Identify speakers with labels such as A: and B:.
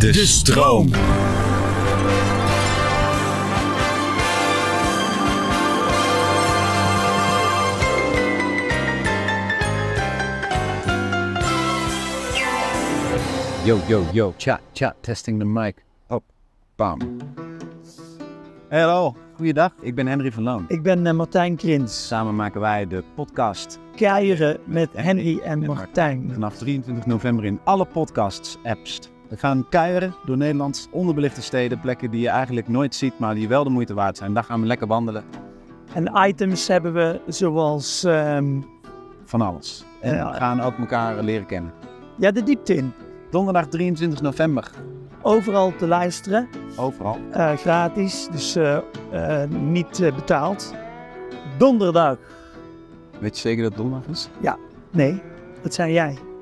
A: De, stroom.
B: Yo, yo, yo, chat, chat, testing de mic. Op, bam. Hallo, goeiedag, ik ben Henry van Loon.
C: Ik ben eh, Martijn Krins.
B: Samen maken wij de podcast
C: Keieren met Henry en Martijn.
B: vanaf 23 november in alle podcasts-apps. We gaan kuieren door Nederlands onderbelichte steden, plekken die je eigenlijk nooit ziet, maar die wel de moeite waard zijn. Daar gaan we lekker wandelen,
C: En items hebben we zoals ehm,
B: van alles. En
C: Ja.
B: we gaan ook elkaar leren kennen.
C: ja, de diepte in.
B: Donderdag 23 november,
C: Overal te luisteren,
B: overal.
C: eh, gratis, dus eh, eh, niet eh, betaald. Donderdag.
B: Weet je zeker dat het donderdag is?
C: Nee, dat zijn jij.